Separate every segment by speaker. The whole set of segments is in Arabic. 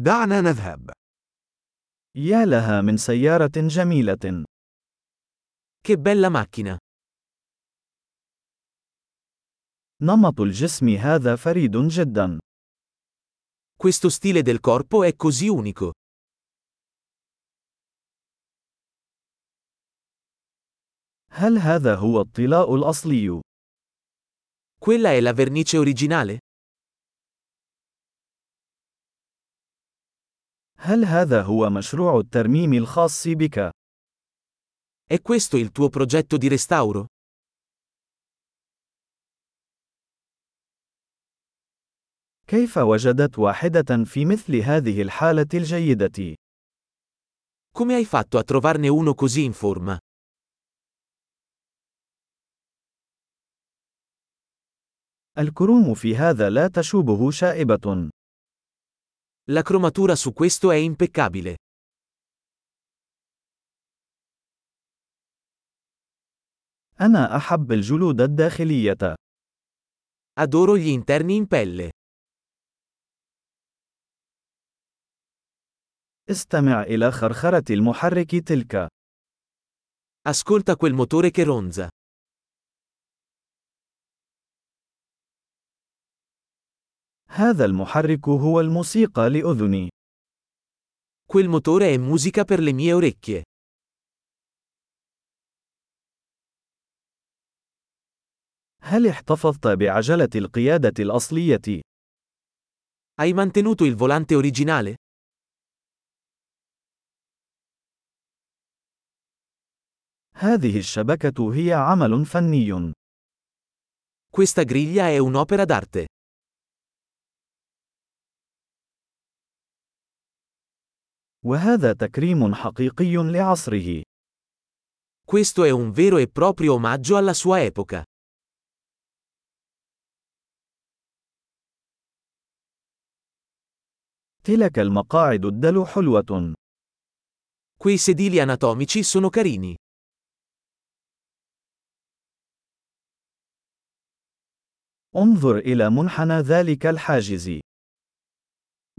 Speaker 1: دعنا نذهب.
Speaker 2: يا لها من سيارة جميلة.
Speaker 1: Che bella macchina.
Speaker 2: نمط الجسم هذا فريد جدا.
Speaker 1: Questo stile del corpo è così unico.
Speaker 2: هل هذا هو الطلاء الأصلي؟
Speaker 1: Quella è la vernice originale?
Speaker 2: هل هذا هو مشروع الترميم الخاص بك؟
Speaker 1: È questo il tuo progetto di restauro?
Speaker 2: كيف وجدت واحدة في مثل هذه الحالة الجيدة؟
Speaker 1: Come hai fatto a trovarne uno così in forma?
Speaker 2: الكروم في هذا لا تشوبه شائبة.
Speaker 1: La cromatura su questo è impeccabile.
Speaker 2: أنا أحب الجلود الداخلية.
Speaker 1: Adoro gli interni in pelle.
Speaker 2: استمع إلى خرخرة المحرك تلك.
Speaker 1: Ascolta quel motore che ronza.
Speaker 2: هذا المحرك هو الموسيقى لأذني.
Speaker 1: Quel motore è musica per le mie orecchie.
Speaker 2: هل احتفظت بعجلة القيادة الأصلية؟
Speaker 1: Hai mantenuto il volante originale?
Speaker 2: هذه الشبكة هي عمل فني.
Speaker 1: Questa griglia è un'opera d'arte.
Speaker 2: وهذا تكريم حقيقي لعصره.
Speaker 1: Questo è un vero e proprio omaggio alla sua epoca.
Speaker 2: تلك المقاعد الدلو حلوة.
Speaker 1: Quei sedili anatomici sono carini.
Speaker 2: انظر إلى منحنى ذلك الحاجز.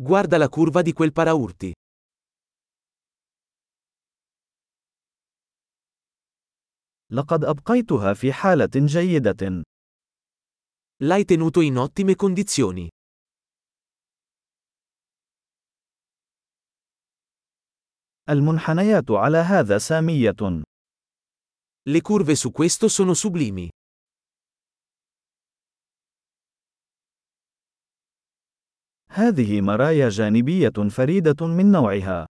Speaker 1: Guarda la curva di quel paraurti.
Speaker 2: لقد أبقيتها في حالة جيدة.
Speaker 1: L'hai tenuto in ottime condizioni.
Speaker 2: المنحنيات على هذا سامية.
Speaker 1: Le curve su questo sono sublimi.
Speaker 2: هذه مرايا جانبية فريدة من نوعها.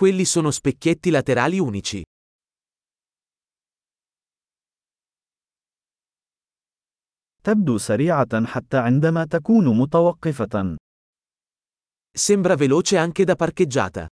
Speaker 1: Quelli sono specchietti laterali unici.
Speaker 2: تبدو سريعة حتى عندما تكون متوقفة.
Speaker 1: Sembra veloce anche da parcheggiata.